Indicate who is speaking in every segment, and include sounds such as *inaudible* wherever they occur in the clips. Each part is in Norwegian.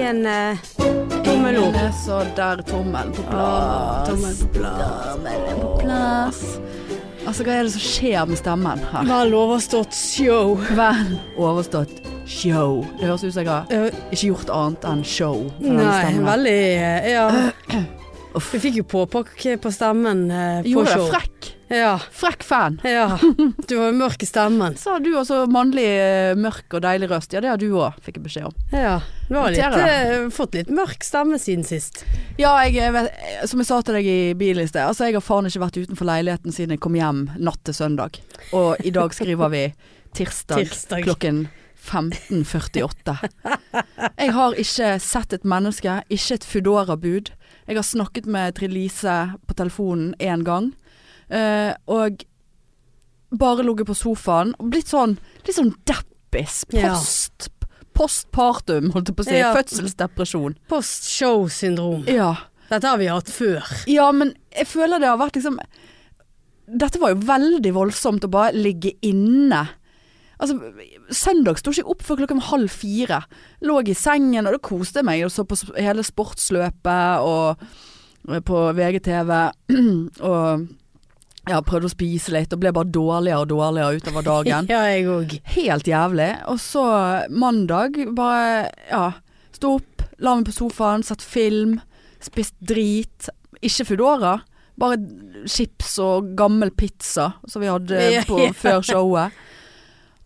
Speaker 1: en eh, tommelord.
Speaker 2: Engenes, og der tommelen på Ah, plass.
Speaker 1: Tommelen på
Speaker 2: Tommelen på plass. Altså, hva er det som skjer med stemmen her?
Speaker 1: Vel overstått show.
Speaker 2: Vel overstått show. Det høres ut som jeg har
Speaker 1: Eh,
Speaker 2: ikke gjort annet enn show. med denne
Speaker 1: Nei,
Speaker 2: stemmen.
Speaker 1: veldig eh, Ja.
Speaker 2: *clears throat* Uff.
Speaker 1: Vi fikk jo påpakke på stemmen eh, på
Speaker 2: Jo, det er
Speaker 1: show.
Speaker 2: frekk.
Speaker 1: Ja.
Speaker 2: Frekk fan.
Speaker 1: ja. Du var jo mørk i stemmen.
Speaker 2: Sa du også mannlig eh, mørk og deilig røst. Ja, det har du òg, fikk jeg beskjed om.
Speaker 1: Ja. Du har litt,
Speaker 2: Irriterer
Speaker 1: eh, fått litt mørk stemme siden sist.
Speaker 2: Ja, jeg, eh, vet, eh, som jeg sa til deg i bilen i sted, altså jeg har faen ikke vært utenfor leiligheten siden jeg kom hjem natt til søndag. Og i dag skriver vi tirsdag,
Speaker 1: Tirsdag.
Speaker 2: klokken 15.48. Jeg har ikke sett et menneske, ikke et Foodora-bud. Jeg har snakket med Trine Lise på telefonen én gang, eh, og bare ligget på sofaen og blitt sånn litt sånn deppis.
Speaker 1: Ja.
Speaker 2: Post, postpartum, holdt jeg på å si.
Speaker 1: Ja.
Speaker 2: Fødselsdepresjon.
Speaker 1: Post-show-syndrom.
Speaker 2: Ja.
Speaker 1: Dette har vi hatt før.
Speaker 2: Ja, men jeg føler det har vært liksom Dette var jo veldig voldsomt å bare ligge inne. Altså, Søndag sto ikke jeg opp før klokken halv fire. Lå i sengen, og det koste jeg meg. Og så på s- hele sportsløpet og og på VGTV. *clears throat* Og ja, prøvde å spise litt, og ble bare dårligere og dårligere utover dagen.
Speaker 1: Ja, jeg òg.
Speaker 2: Helt jævlig. Og så mandag bare ja, sto opp, la meg på sofaen, satt film, spist drit. Ikke Foodora, bare chips og gammel pizza som vi
Speaker 1: Ja,
Speaker 2: hadde på,
Speaker 1: ja.
Speaker 2: før showet.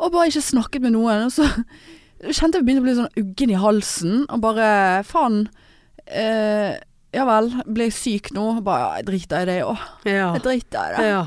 Speaker 2: Og bare ikke snakket med noen. Og så kjente jeg begynte å bli sånn uggen i halsen, og bare faen. Eh, ja vel, ble jeg syk nå? Bare ja, jeg driter i det òg.
Speaker 1: Ja.
Speaker 2: Jeg driter i det.
Speaker 1: ja.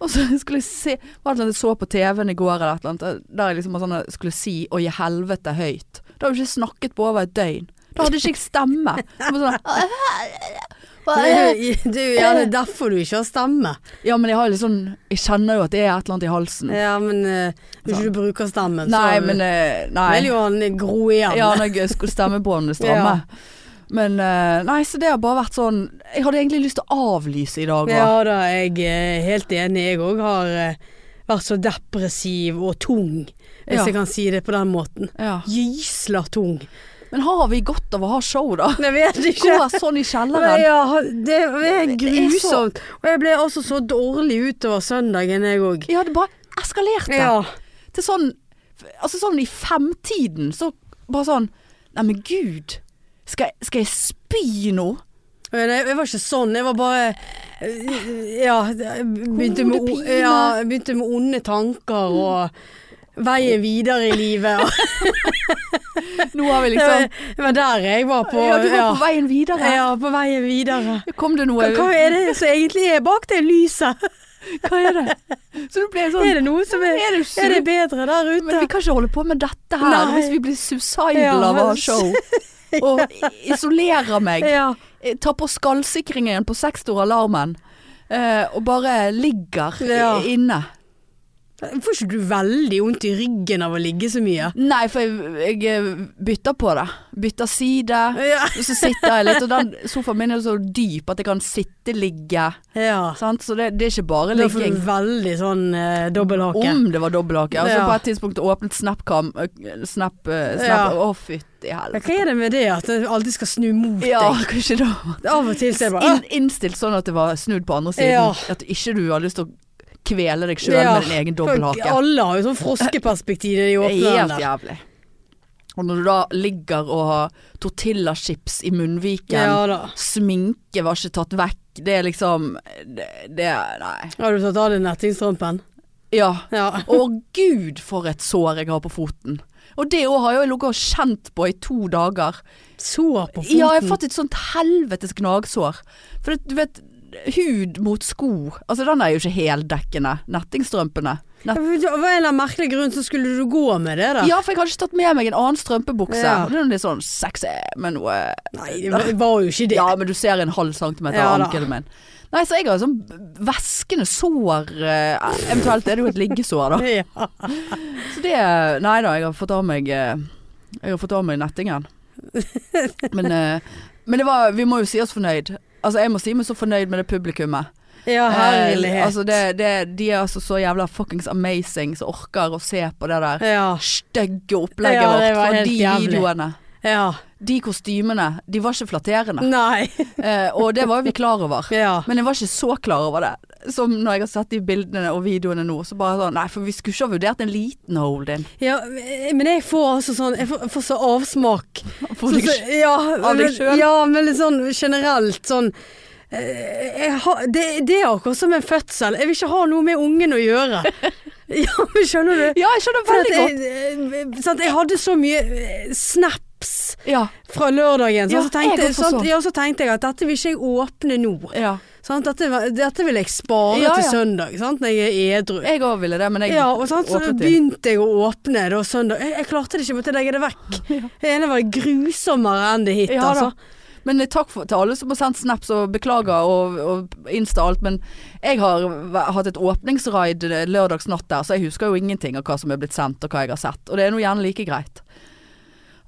Speaker 2: Og så skulle jeg se var det noe jeg så på TV-en i går eller et eller annet, der jeg liksom var sånn, at jeg skulle si 'Å, i helvete' høyt. Da har du ikke snakket på over et døgn. Da hadde ikke jeg stemme. Jeg var sånn,
Speaker 1: Du, du, ja, det er derfor du ikke har stemme.
Speaker 2: ja, men jeg har jo litt sånn Jeg kjenner jo at det er et eller annet i halsen.
Speaker 1: Ja, men eh, hvis ikke du bruker stemmen,
Speaker 2: Mm. Sånn. Nei,
Speaker 1: så
Speaker 2: men eh,
Speaker 1: vil
Speaker 2: Nei.
Speaker 1: jo han gro igjen.
Speaker 2: Ja, når jeg skulle stemmebåndene
Speaker 1: *laughs*
Speaker 2: stramme. Men eh, nei, så det har bare vært sånn Jeg hadde egentlig lyst til å avlyse i dag òg.
Speaker 1: Ja da, jeg er helt enig. Jeg òg har eh, vært så depressiv og tung, hvis
Speaker 2: Ja.
Speaker 1: jeg kan si det på den måten.
Speaker 2: Ja.
Speaker 1: Gysla tung.
Speaker 2: Men har vi godt av å ha show,
Speaker 1: *laughs*
Speaker 2: da?
Speaker 1: Jeg vet ikke.
Speaker 2: Gå sånn i
Speaker 1: Nei,
Speaker 2: kjelleren.
Speaker 1: ja, det er
Speaker 2: så-
Speaker 1: grusomt. Og jeg ble også så dårlig utover søndagen, jeg òg.
Speaker 2: Ja, det bare eskalerte.
Speaker 1: Ja.
Speaker 2: til sånn Altså sånn i femtiden Så bare sånn Nei, men Gud Skal, jeg- skal jeg spy nå?
Speaker 1: Men jeg, jeg var ikke sånn, jeg var bare eh, Ja, jeg begynte med, o-
Speaker 2: Hodepine.
Speaker 1: ja, jeg begynte med onde tanker og veien videre i *laughs* livet. og-
Speaker 2: *laughs* Nå har vi
Speaker 1: Det
Speaker 2: liksom
Speaker 1: var der jeg var på.
Speaker 2: Ja, du var på veien videre
Speaker 1: Ja, på veien videre.
Speaker 2: Kom det noe
Speaker 1: Hva, hva er det som egentlig er bak det lyset?
Speaker 2: *laughs* Hva er det? Så du ble sånn
Speaker 1: Er det noe som er
Speaker 2: Er det su-
Speaker 1: Er det bedre der
Speaker 2: Men
Speaker 1: ute?
Speaker 2: vi kan ikke holde på med dette her
Speaker 1: Nei.
Speaker 2: Hvis vi blir suicidal
Speaker 1: Ja.
Speaker 2: av å ha *laughs* show Og i- isolerer meg
Speaker 1: Ja.
Speaker 2: Ta på skallsikringen på sekstoralarmen eh, Og bare ligger i-
Speaker 1: Ja.
Speaker 2: inne
Speaker 1: Får ikke du veldig vondt i ryggen av å ligge så mye?
Speaker 2: Nei, for jeg, jeg bytter på det Bytter side
Speaker 1: Ja.
Speaker 2: Og så sitter jeg litt, og den sofaen min er så dyp at jeg kan sitte, ligge.
Speaker 1: ja.
Speaker 2: Sant? Så det, det er ikke bare
Speaker 1: Da får
Speaker 2: ligging.
Speaker 1: du veldig sånn eh, dobbelthake.
Speaker 2: Om det var dobbelthake. Og så
Speaker 1: Ja.
Speaker 2: på et tidspunkt åpnet Snapcam eh, Snap,
Speaker 1: Ja.
Speaker 2: eh, snap Å, fytti
Speaker 1: Men
Speaker 2: helvete.
Speaker 1: Hva er det med det at jeg alltid skal snu mot
Speaker 2: Ja,
Speaker 1: deg?
Speaker 2: kanskje da.
Speaker 1: Av og til så er jeg bare
Speaker 2: In, innstilt sånn at det var snudd på andre siden.
Speaker 1: Ja.
Speaker 2: At ikke du har lyst til å kvele deg sjøl
Speaker 1: Ja.
Speaker 2: med din egen
Speaker 1: "Ah, «Fuck,
Speaker 2: dobbelthake.
Speaker 1: Alle har jo sånn froskeperspektiv når de
Speaker 2: Det
Speaker 1: åpner
Speaker 2: er
Speaker 1: den
Speaker 2: helt
Speaker 1: der.
Speaker 2: jævlig. Og når du da ligger og har tortillachips i munnviken,
Speaker 1: Ja da.
Speaker 2: sminke var ikke tatt vekk, det er liksom Det, det Nei.
Speaker 1: Har du tatt av deg nettingstrømpen?
Speaker 2: Ja.
Speaker 1: Ja.
Speaker 2: Å gud, for et sår jeg har på foten. Og det òg har jeg jo ligget og kjent på i to dager.
Speaker 1: Sår på foten.
Speaker 2: Ja, jeg har fått et sånt helvetes gnagsår. For det, du vet, hud mot sko. Altså den er jo ikke heldekkende. Nettingstrømpene. Nett
Speaker 1: Av en eller annen merkelig grunn så skulle du gå med det, da.
Speaker 2: ja, for jeg hadde ikke tatt med meg en annen strømpebukse.
Speaker 1: Ja.
Speaker 2: Og Det er jo litt sånn sexy øh, med noe
Speaker 1: Nei, det var- var jo ikke det.
Speaker 2: Ja, men du ser en halv centimeter
Speaker 1: Ja
Speaker 2: av
Speaker 1: da.
Speaker 2: ankelen min. Nei, så jeg har sånn væskende sår eh, Eventuelt er det jo et liggesår, da.
Speaker 1: Ja.
Speaker 2: Så det Nei da, jeg har fått av meg eh, Jeg har fått av meg nettingen. Men, eh, men det var Vi må jo si oss fornøyd. Altså, jeg må si meg så fornøyd med det publikummet.
Speaker 1: Ja,
Speaker 2: Eh,
Speaker 1: herlighet.
Speaker 2: altså, det, det, de er altså så jævla fuckings amazing som orker å se på det der
Speaker 1: ja.
Speaker 2: stygge opplegget
Speaker 1: Ja, det
Speaker 2: vårt
Speaker 1: var
Speaker 2: fra
Speaker 1: helt
Speaker 2: de
Speaker 1: jævlig.
Speaker 2: videoene.
Speaker 1: ja.
Speaker 2: De kostymene, de var ikke flatterende.
Speaker 1: Nei.
Speaker 2: Eh, og det var jo vi klar over.
Speaker 1: Ja.
Speaker 2: Men jeg var ikke så klar over det. Som når jeg har sett de bildene og videoene nå, så bare sånn Nei, for vi skulle ikke ha vurdert en liten
Speaker 1: *laughs*
Speaker 2: hold-in.
Speaker 1: ja. Men jeg får altså sånn Jeg får, får så avsmak.
Speaker 2: For
Speaker 1: Så-
Speaker 2: det-
Speaker 1: så- ja,
Speaker 2: av deg
Speaker 1: men-
Speaker 2: selv?
Speaker 1: Ja, men litt sånn generelt sånn eh, jeg har, det, det er akkurat som en fødsel. Jeg vil ikke ha noe med ungen å
Speaker 2: *laughs*
Speaker 1: gjøre. Ja, men skjønner du?
Speaker 2: Ja, jeg skjønner
Speaker 1: For at
Speaker 2: veldig godt.
Speaker 1: jeg, eh, sant, jeg hadde så mye eh, snaps
Speaker 2: Ja.
Speaker 1: fra lørdagen, så,
Speaker 2: Ja,
Speaker 1: så, tenkte,
Speaker 2: jeg
Speaker 1: jeg
Speaker 2: går for
Speaker 1: sant,
Speaker 2: sånn.
Speaker 1: ja, så tenkte jeg at dette vil ikke jeg åpne nå.
Speaker 2: ja.
Speaker 1: Sant? Dette, var- dette vil jeg spare
Speaker 2: Ja, ja.
Speaker 1: til søndag, sant? når jeg er edru.
Speaker 2: Jeg òg ville det, men jeg
Speaker 1: Ja, og sant? så
Speaker 2: åpnet de.
Speaker 1: begynte jeg å åpne da søndag. Jeg, jeg klarte det ikke, jeg måtte legge det
Speaker 2: *laughs*
Speaker 1: vekk. Det ene var grusommere enn det hit,
Speaker 2: Ja da.
Speaker 1: altså.
Speaker 2: Men eh, takk for, til alle som har sendt snaps og beklager og, og insta alt, men jeg har væ- hatt et åpningsraid eh, lørdagsnatt der, så jeg husker jo ingenting av hva som er blitt sendt og hva jeg har sett. Og det er nå gjerne like greit.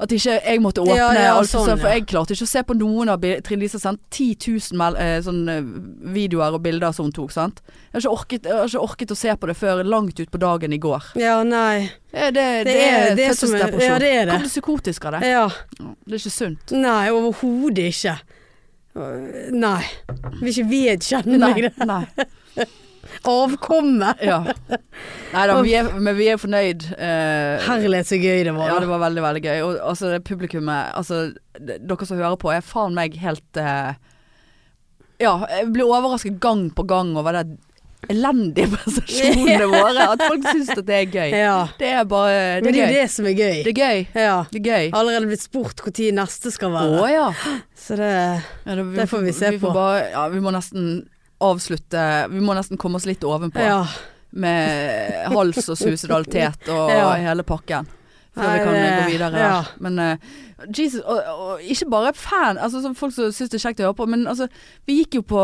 Speaker 2: At ikke jeg måtte åpne,
Speaker 1: Ja, ja,
Speaker 2: alt for
Speaker 1: sånn,
Speaker 2: sånn, for
Speaker 1: ja.
Speaker 2: jeg klarte ikke å se på noen av bil- Trine Lise har sendt 10 000 mel eh, sånne eh, videoer og bilder som hun tok, sant. Jeg har, ikke orket, jeg har ikke orket å se på det før langt ut på dagen i går.
Speaker 1: Ja, nei.
Speaker 2: Eh, Det, det,
Speaker 1: Det er det som er
Speaker 2: fødselsdepresjon.
Speaker 1: Ja, det er det.
Speaker 2: Kom det psykotisk av det?
Speaker 1: Ja.
Speaker 2: Det er ikke
Speaker 1: *laughs*
Speaker 2: sunt.
Speaker 1: Nei, overhodet ikke. Øh, Nei. Vil ikke vedkjenne meg
Speaker 2: Nei,
Speaker 1: det.
Speaker 2: nei.
Speaker 1: Avkommet.
Speaker 2: Ja. Nei da, vi er, men vi er fornøyd. eh,
Speaker 1: Herlighet, så gøy det var.
Speaker 2: ja,
Speaker 1: da.
Speaker 2: det var veldig, veldig gøy. Og altså, det publikummet Altså, d- dere som hører på, er faen meg helt eh, Ja, jeg blir overrasket gang på gang over det elendige *laughs* prestasjonene våre. At folk syns at det er gøy.
Speaker 1: Ja.
Speaker 2: Det er bare
Speaker 1: Men
Speaker 2: Det
Speaker 1: det er
Speaker 2: er
Speaker 1: jo
Speaker 2: gøy.
Speaker 1: det som er gøy.
Speaker 2: Det er gøy.
Speaker 1: Ja.
Speaker 2: Det er gøy.
Speaker 1: Allerede blitt spurt når neste skal
Speaker 2: Å
Speaker 1: være.
Speaker 2: ja.
Speaker 1: Så det
Speaker 2: ja da,
Speaker 1: Det får vi se
Speaker 2: Vi,
Speaker 1: på.
Speaker 2: får bare, ja, vi må nesten avslutte Vi må nesten komme oss litt ovenpå.
Speaker 1: Ja.
Speaker 2: med hals og suicidalitet og
Speaker 1: *laughs* Ja.
Speaker 2: hele pakken. Før
Speaker 1: Nei,
Speaker 2: vi kan eh,
Speaker 1: det-
Speaker 2: gå videre.
Speaker 1: ja.
Speaker 2: Men eh, Jesus, og, og ikke bare fan, altså sånn folk som syns det er kjekt å høre på, men altså Vi gikk jo på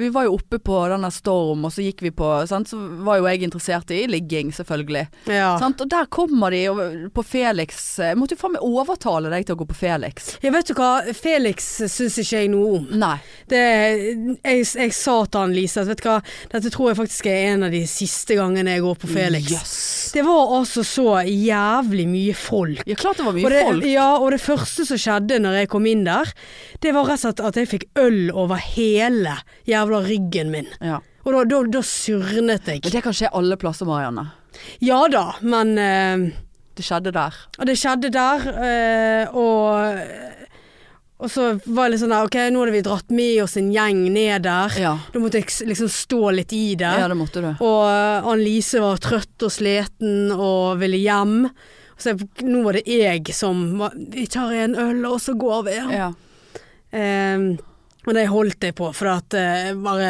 Speaker 2: Vi var jo oppe på denne Storm, og så gikk vi på sant, Så var jo jeg interessert i ligging, selvfølgelig.
Speaker 1: ja.
Speaker 2: Sant? Og der kommer de og- på Felix. Jeg måtte jo faen meg overtale deg til å gå på Felix.
Speaker 1: Ja, vet du hva, Felix syns ikke jeg noe om.
Speaker 2: Nei.
Speaker 1: Det, jeg, jeg sa til han Lise at vet du hva, dette tror jeg faktisk er en av de siste gangene jeg går på Felix.
Speaker 2: Jøss.
Speaker 1: Det var altså så jævlig mye folk.
Speaker 2: Ja, klart det var mye
Speaker 1: Og det,
Speaker 2: folk.
Speaker 1: ja, og det første som skjedde når jeg kom inn der, det var rett og slett at jeg fikk øl over hele jævla ryggen min.
Speaker 2: Ja.
Speaker 1: Og da, da, da surnet
Speaker 2: Men
Speaker 1: jeg.
Speaker 2: det kan skje alle plasser, Marianne.
Speaker 1: Ja da, men eh,
Speaker 2: Det skjedde der.
Speaker 1: Og det skjedde der, eh, og, og så var jeg litt sånn der, ok, nå hadde vi dratt med oss en gjeng ned der.
Speaker 2: Ja.
Speaker 1: Da måtte jeg s- liksom stå litt i det.
Speaker 2: Ja, det måtte du.
Speaker 1: Og eh, Annelise var trøtt og sliten og ville hjem. Så jeg, nå var det jeg som var Vi tar en øl, og så går vi.
Speaker 2: Ja.
Speaker 1: Ehm, og det holdt jeg på, for at eh, bare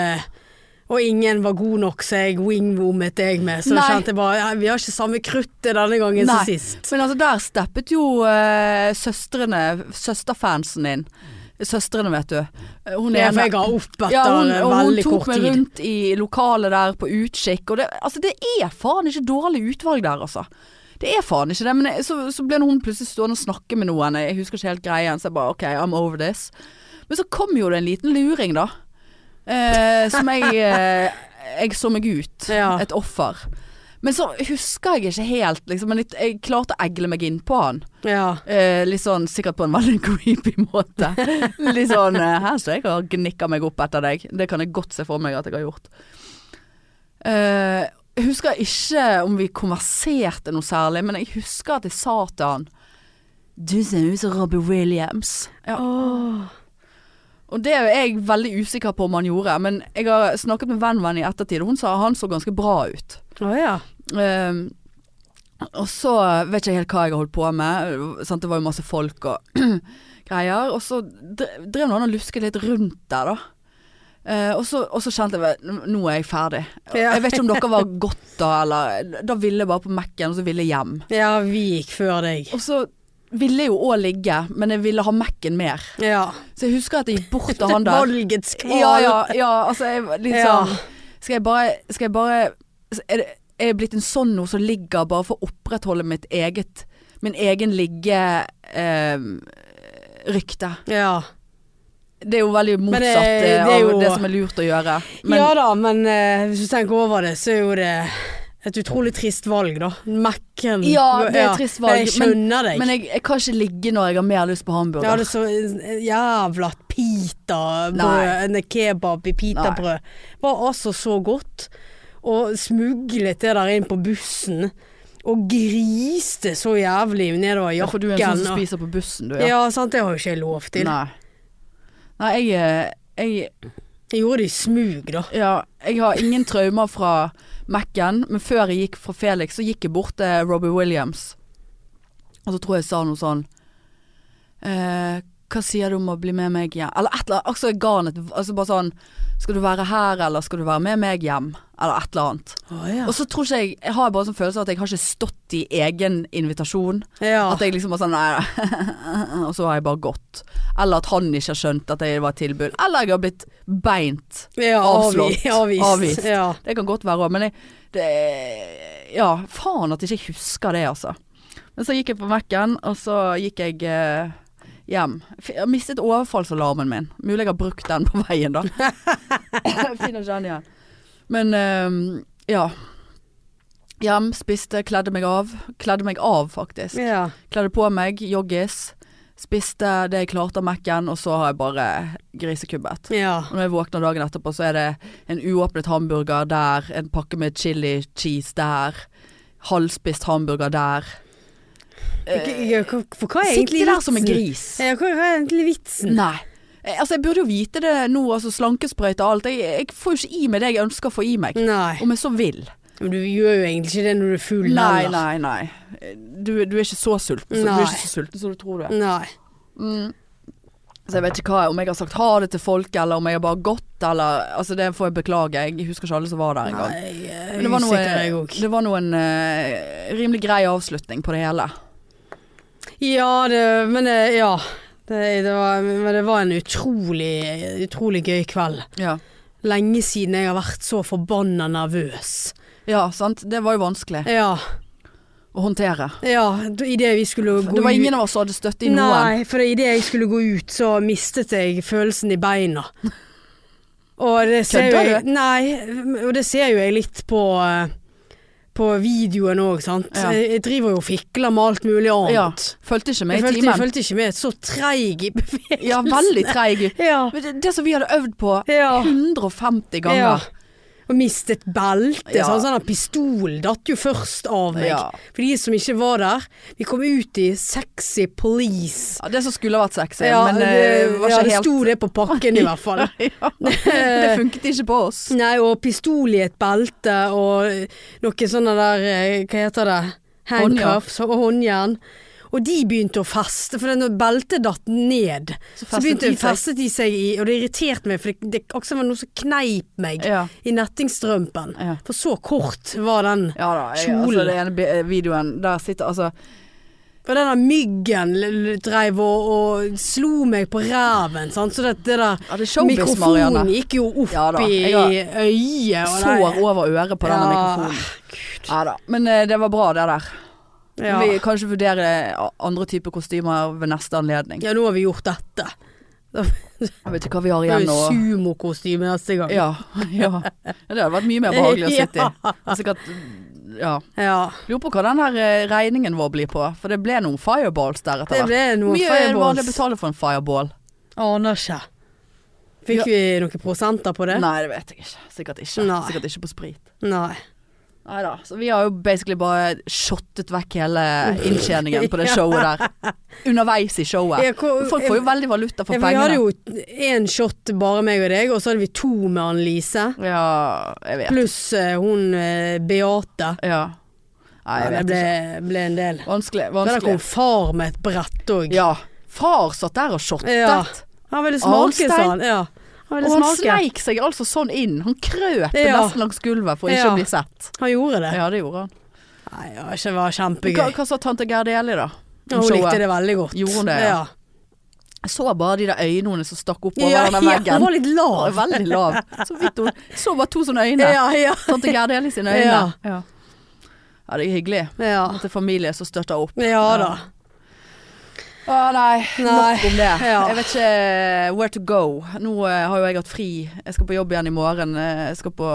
Speaker 1: Og ingen var god nok, så jeg wingwomet jeg med. Så
Speaker 2: Nei.
Speaker 1: kjente jeg bare ja, Vi har ikke samme kruttet denne gangen som
Speaker 2: Nei.
Speaker 1: sist.
Speaker 2: Men altså, der steppet jo eh, søstrene, søsterfansen inn. Søstrene, vet du. Eh, Hun
Speaker 1: Ja,
Speaker 2: ene-
Speaker 1: for jeg ga opp etter
Speaker 2: ja, hun, og hun
Speaker 1: veldig
Speaker 2: tok
Speaker 1: kort
Speaker 2: meg
Speaker 1: tid.
Speaker 2: rundt i lokalet der på utkikk, og det, altså, det er faen ikke dårlig utvalg der, altså. Det er faen ikke det, men jeg, så, så ble hun plutselig stående og snakke med noen, jeg husker ikke helt greien, så jeg bare ok, I'm over this. Men så kom jo det en liten luring da, eh, som
Speaker 1: *laughs*
Speaker 2: jeg, eh, jeg så meg ut,
Speaker 1: Ja.
Speaker 2: et offer. Men så husker jeg ikke helt, liksom, men jeg, jeg klarte å egle meg inn på han.
Speaker 1: Ja.
Speaker 2: Eh, litt sånn sikkert på en veldig *laughs* creepy måte. Litt sånn eh, Her står jeg og gnikker meg opp etter deg. Det kan jeg godt se for meg at jeg har gjort. Eh, jeg husker ikke om vi konverserte noe særlig, men jeg husker at jeg sa til han Du ser ut som Robbie Williams. Ja. Og det er jeg veldig usikker på om han gjorde, men jeg har snakket med vennen min i ettertid, og hun sa han så ganske bra ut.
Speaker 1: Å ja.
Speaker 2: Ehm, og så vet jeg ikke helt hva jeg har holdt på med. Sant? Det var jo masse folk og *clears throat* greier. Og så dre- drev nå han og lusket litt rundt der, da. Eh, og, så, og så kjente jeg vel, Nå er jeg ferdig.
Speaker 1: Ja.
Speaker 2: Jeg vet ikke om dere var godt da, eller Da ville jeg bare på Mac-en, og så ville jeg hjem.
Speaker 1: ja, vi gikk før deg.
Speaker 2: Og så ville jeg jo òg ligge, men jeg ville ha Mac-en mer.
Speaker 1: Ja.
Speaker 2: Så jeg husker at jeg gikk bort
Speaker 1: *laughs*
Speaker 2: til han der.
Speaker 1: Valgets kval.
Speaker 2: Ja, ja, ja, altså jeg var litt
Speaker 1: Ja.
Speaker 2: sånn Skal jeg bare, skal jeg bare er, det, er jeg blitt en sånn nå som ligger bare for å opprettholde mitt eget Min egen ligge eh, rykte
Speaker 1: Ja.
Speaker 2: Det er jo veldig
Speaker 1: Men
Speaker 2: motsatt
Speaker 1: det-
Speaker 2: eh,
Speaker 1: det er jo-
Speaker 2: av det som er lurt å gjøre Men
Speaker 1: ja da, men eh, hvis du tenker over det, så er jo det Et utrolig trist valg, da. Mac-en.
Speaker 2: Ja, det er et trist valg,
Speaker 1: Jeg skjønner deg.
Speaker 2: Men jeg, jeg kan ikke ligge når jeg har mer lyst på hamburger.
Speaker 1: ja, det er så eh, jævla pitabrød.
Speaker 2: Nei.
Speaker 1: En kebab i pitabrød. Var altså så godt. Og smuglet det der inn på bussen. Og griste så jævlig nedover
Speaker 2: Ja,
Speaker 1: jakken.
Speaker 2: for du er en sånn som
Speaker 1: og-
Speaker 2: spiser på bussen, du.
Speaker 1: ja. sant. Det har jo ikke jeg lov til.
Speaker 2: Nei. Nei, jeg, er- jeg
Speaker 1: Jeg gjorde det i smug, da.
Speaker 2: Ja, jeg har ingen traumer fra Mac-en, men før jeg gikk fra Felix, så gikk jeg bort til Robbie Williams. Og så tror jeg jeg sa noe sånn eh, Hva sier du om å bli med meg hjem? Eller et eller annet. Altså, jeg ga han et altså Bare sånn Skal du være her, eller skal du være med meg hjem? Eller et eller annet. Og så tror ikke jeg Jeg har bare en sånn følelse av at jeg har ikke stått i egen invitasjon.
Speaker 1: Ja.
Speaker 2: At jeg liksom var sånn Nei, *laughs* og så har jeg bare gått. Eller at han ikke har skjønt at det var et tilbud. Eller jeg har blitt beint.
Speaker 1: ja
Speaker 2: avslått.
Speaker 1: avvi- Avvist.
Speaker 2: Avvist.
Speaker 1: Ja.
Speaker 2: Det kan godt være òg, men jeg det, Ja, faen at jeg ikke husker det, altså. Men så gikk jeg på Mac-en, og så gikk jeg eh, hjem. F- Jeg mistet overfallsalarmen min. Mulig jeg har brukt den på veien, da. Jeg Finner ikke den igjen. Men eh, ja. Hjem, spiste, kledde meg av. Kledde meg av, faktisk.
Speaker 1: ja.
Speaker 2: Kledde på meg joggis, spiste det jeg klarte av Mac-en, og så har jeg bare grisekubbet.
Speaker 1: Ja.
Speaker 2: Og når jeg våkner dagen etterpå, så er det en uåpnet hamburger der, en pakke med chili cheese der, halvspist hamburger der.
Speaker 1: G- ja, hva- For hva er egentlig
Speaker 2: Sitte der som en
Speaker 1: vitsen?
Speaker 2: gris.
Speaker 1: Eh, Ja, hva er egentlig vitsen?
Speaker 2: Nei. Eh, Altså, jeg burde jo vite det nå, altså slankesprøyte og alt. Jeg, jeg får jo ikke i meg det jeg ønsker å få i meg.
Speaker 1: Nei.
Speaker 2: Om jeg så vil.
Speaker 1: Men du gjør jo egentlig ikke det når du er full
Speaker 2: Nei,
Speaker 1: heller.
Speaker 2: nei, nei. Du, du er ikke så sulten, så du
Speaker 1: Nei.
Speaker 2: er ikke så sulten som du tror du er. Mm.
Speaker 1: Nei.
Speaker 2: Så jeg vet ikke hva, om jeg har sagt ha det til folk, eller om jeg har bare gått, eller Altså, det får jeg beklage. Jeg husker ikke alle som var der engang.
Speaker 1: Nei, jeg
Speaker 2: Men
Speaker 1: er
Speaker 2: det var noe,
Speaker 1: usikker jeg òg.
Speaker 2: det var noe en eh, rimelig grei avslutning på det hele.
Speaker 1: Ja, det, men det, ja. Det, det var, men det var en utrolig, utrolig gøy kveld.
Speaker 2: Ja.
Speaker 1: Lenge siden jeg har vært så forbanna nervøs.
Speaker 2: ja, sant. Det var jo vanskelig
Speaker 1: Ja,
Speaker 2: å håndtere.
Speaker 1: ja idet vi skulle gå ut
Speaker 2: Det var ingen av oss som hadde støtte i noen.
Speaker 1: Nei, for idet jeg skulle gå ut, så mistet jeg følelsen i beina. Og det ser jo
Speaker 2: Kødder
Speaker 1: jeg,
Speaker 2: du?
Speaker 1: nei, og det ser jo jeg litt på eh, på videoen òg, sant.
Speaker 2: Ja.
Speaker 1: Jeg jeg driver jo og fikler med alt mulig
Speaker 2: Ja,
Speaker 1: annet.
Speaker 2: fulgte ikke
Speaker 1: Jeg
Speaker 2: med i
Speaker 1: følte, jeg
Speaker 2: timen.
Speaker 1: følte ikke med. Så treig i *laughs* bevegelsen.
Speaker 2: Ja, veldig treig.
Speaker 1: Ja.
Speaker 2: Men det, det som vi hadde øvd på
Speaker 1: ja.
Speaker 2: 150 ganger.
Speaker 1: Og mistet beltet.
Speaker 2: Ja.
Speaker 1: Sånn, sånn at pistolen datt jo først av meg.
Speaker 2: Ja.
Speaker 1: For de som ikke var der. Vi kom ut i sexy police.
Speaker 2: Ja, det som skulle ha vært sexy,
Speaker 1: Ja,
Speaker 2: men
Speaker 1: det,
Speaker 2: eh, var
Speaker 1: ja,
Speaker 2: ikke
Speaker 1: det
Speaker 2: helt
Speaker 1: sto det på pakken i hvert
Speaker 2: *laughs*
Speaker 1: fall. *laughs*
Speaker 2: ja. Det funket ikke på oss.
Speaker 1: Nei, og pistol i et belte og noe sånne der eh, Hva heter det? Handcuffs og håndjern. Og de begynte å feste, for når beltet datt ned, så,
Speaker 2: Så festet
Speaker 1: begynte
Speaker 2: de seg.
Speaker 1: festet de seg i, og det irriterte meg, for det, det akkurat som det var noe som kneip meg
Speaker 2: Ja.
Speaker 1: i nettingstrømpen.
Speaker 2: Ja.
Speaker 1: For så kort var den.
Speaker 2: Ja da, jeg,
Speaker 1: Kjolen.
Speaker 2: altså, det ene bi- videoen der sitter altså
Speaker 1: For den der myggen l- l- dreiv og, og slo meg på ræven, sant? så det, det der
Speaker 2: Ja, det er showbiz,
Speaker 1: Mikrofonen
Speaker 2: Marianne.
Speaker 1: gikk jo opp
Speaker 2: Ja da, jeg har
Speaker 1: i øyet. og
Speaker 2: sår
Speaker 1: det-
Speaker 2: over øret på denne
Speaker 1: Ja,
Speaker 2: mikrofonen. Ja da. Men eh, det var bra, det der.
Speaker 1: Ja.
Speaker 2: Vi kanskje vurdere a- andre typer kostymer ved neste anledning.
Speaker 1: ja, nå har vi gjort dette.
Speaker 2: Jeg vet ikke hva vi har
Speaker 1: Det er
Speaker 2: igjen
Speaker 1: jo
Speaker 2: nå.
Speaker 1: sumokostyme neste gang.
Speaker 2: Ja, *laughs* ja. ja. Det hadde vært mye mer
Speaker 1: *laughs*
Speaker 2: behagelig å sitte i. Sikkert Ja.
Speaker 1: Ja,
Speaker 2: Lurer på hva den her eh, regningen vår blir på, for det ble noen fireballs der
Speaker 1: det
Speaker 2: etter hvert.
Speaker 1: ble noe
Speaker 2: Mye var det
Speaker 1: fireballs.
Speaker 2: betaler for en fireball?
Speaker 1: Aner ikke. Fikk
Speaker 2: Ja.
Speaker 1: vi noen prosenter på det?
Speaker 2: Nei, det vet jeg ikke. Sikkert ikke.
Speaker 1: Nei.
Speaker 2: Sikkert ikke på sprit.
Speaker 1: Nei.
Speaker 2: Nei da. Så vi har jo basically bare shottet vekk hele
Speaker 1: *laughs*
Speaker 2: inntjeningen på det showet der. Underveis i showet.
Speaker 1: Ja, hvor-
Speaker 2: Folk får jo veldig valuta for
Speaker 1: Ja, Vi hadde
Speaker 2: pengene.
Speaker 1: jo én shot, bare meg og deg, og så hadde vi to med Annelise.
Speaker 2: Ja, jeg vet.
Speaker 1: Pluss eh, hun eh, Beate.
Speaker 2: Ja. Nei, jeg
Speaker 1: det
Speaker 2: vet
Speaker 1: ble,
Speaker 2: ikke.
Speaker 1: ble en del.
Speaker 2: Vanskelig.
Speaker 1: Der kom
Speaker 2: vanskelig.
Speaker 1: far med et brett òg.
Speaker 2: Ja. Far satt der
Speaker 1: Ja.
Speaker 2: og shottet.
Speaker 1: Han ville smake,
Speaker 2: Arnstein.
Speaker 1: sa han. Ja. Han
Speaker 2: Og
Speaker 1: ville
Speaker 2: han
Speaker 1: smake.
Speaker 2: sneik seg altså sånn inn. Han krøp
Speaker 1: Ja.
Speaker 2: nesten langs gulvet for ikke
Speaker 1: Ja.
Speaker 2: å bli sett.
Speaker 1: Han gjorde det.
Speaker 2: Ja, det gjorde han.
Speaker 1: Nei, det var ikke- det var
Speaker 2: Men Hva,
Speaker 1: kjempegøy.
Speaker 2: hva sa tante Gerd Eli, da? om
Speaker 1: Hun
Speaker 2: showet?
Speaker 1: likte det veldig godt.
Speaker 2: Gjorde hun det, ja.
Speaker 1: ja.
Speaker 2: Jeg så bare de der øynene som stakk opp over
Speaker 1: Ja,
Speaker 2: den
Speaker 1: ja,
Speaker 2: veggen.
Speaker 1: hun var litt lav.
Speaker 2: Hun var Veldig lav. Så vidt hun så bare to sånne øyne.
Speaker 1: Ja, ja.
Speaker 2: Tante Gerd Eli sine øyne.
Speaker 1: Ja.
Speaker 2: Ja. Ja, det er hyggelig.
Speaker 1: Ja,
Speaker 2: At det er familie som støtter opp.
Speaker 1: ja da.
Speaker 2: Å nei, nok
Speaker 1: Nei.
Speaker 2: om det.
Speaker 1: Ja.
Speaker 2: Jeg vet ikke where to go. Nå eh, har jo jeg hatt fri. Jeg skal Eh, på jobb igjen i morgen. Eh, Jeg skal på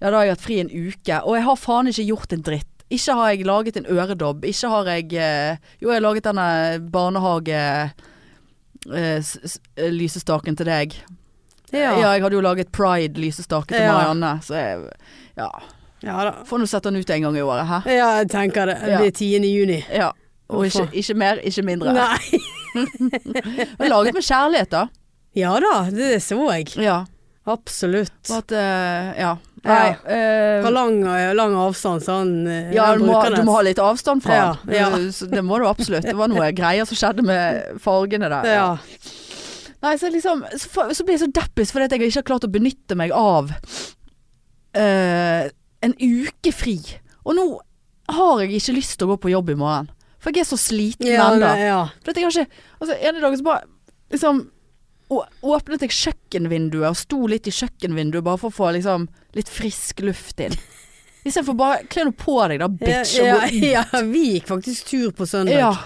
Speaker 2: Ja, da har jeg hatt fri en uke, og jeg har faen ikke gjort en dritt. Ikke har jeg laget en øredobb. Ikke har jeg eh, Jo, jeg har laget denne eh, barnehage-lysestaken til deg. Ja.
Speaker 1: Ja.
Speaker 2: jeg hadde jo laget pride-lysestake til
Speaker 1: Ja.
Speaker 2: Marianne, så jeg Ja.
Speaker 1: ja da.
Speaker 2: Får nå sette den ut en gang i året, hæ?
Speaker 1: Ja, jeg tenker det. Det
Speaker 2: Ja.
Speaker 1: blir 10. juni.
Speaker 2: Ja. Og ikke, ikke mer, ikke mindre.
Speaker 1: Nei.
Speaker 2: Men laget med kjærlighet, da.
Speaker 1: Ja da, det så jeg.
Speaker 2: Ja.
Speaker 1: Absolutt.
Speaker 2: For at eh, Ja. Nei. eh,
Speaker 1: Hva lang, eh, lang avstand sånn eh,
Speaker 2: ja,
Speaker 1: den
Speaker 2: du må,
Speaker 1: bruker
Speaker 2: du
Speaker 1: den.
Speaker 2: må ha litt avstand fra
Speaker 1: Ja,
Speaker 2: den.
Speaker 1: ja.
Speaker 2: Du- så Det må du absolutt. Det var noe greier som skjedde med fargene der.
Speaker 1: ja.
Speaker 2: Nei, så, liksom, så, fa- så blir jeg så deppis fordi at jeg ikke har klart å benytte meg av eh, en uke fri. Og nå har jeg ikke lyst til å gå på jobb i morgen. For jeg er så sliten
Speaker 1: Ja,
Speaker 2: ennå.
Speaker 1: nei, ja.
Speaker 2: For at jeg har ikke Altså, ene dagen så bare liksom å- Åpnet jeg kjøkkenvinduet og sto litt i kjøkkenvinduet bare for å få liksom litt frisk luft inn. Istedenfor bare Kle nå på deg, da, bitch.
Speaker 1: ja,
Speaker 2: og gå ut.
Speaker 1: ja, vi gikk faktisk tur på søndag.
Speaker 2: Ja.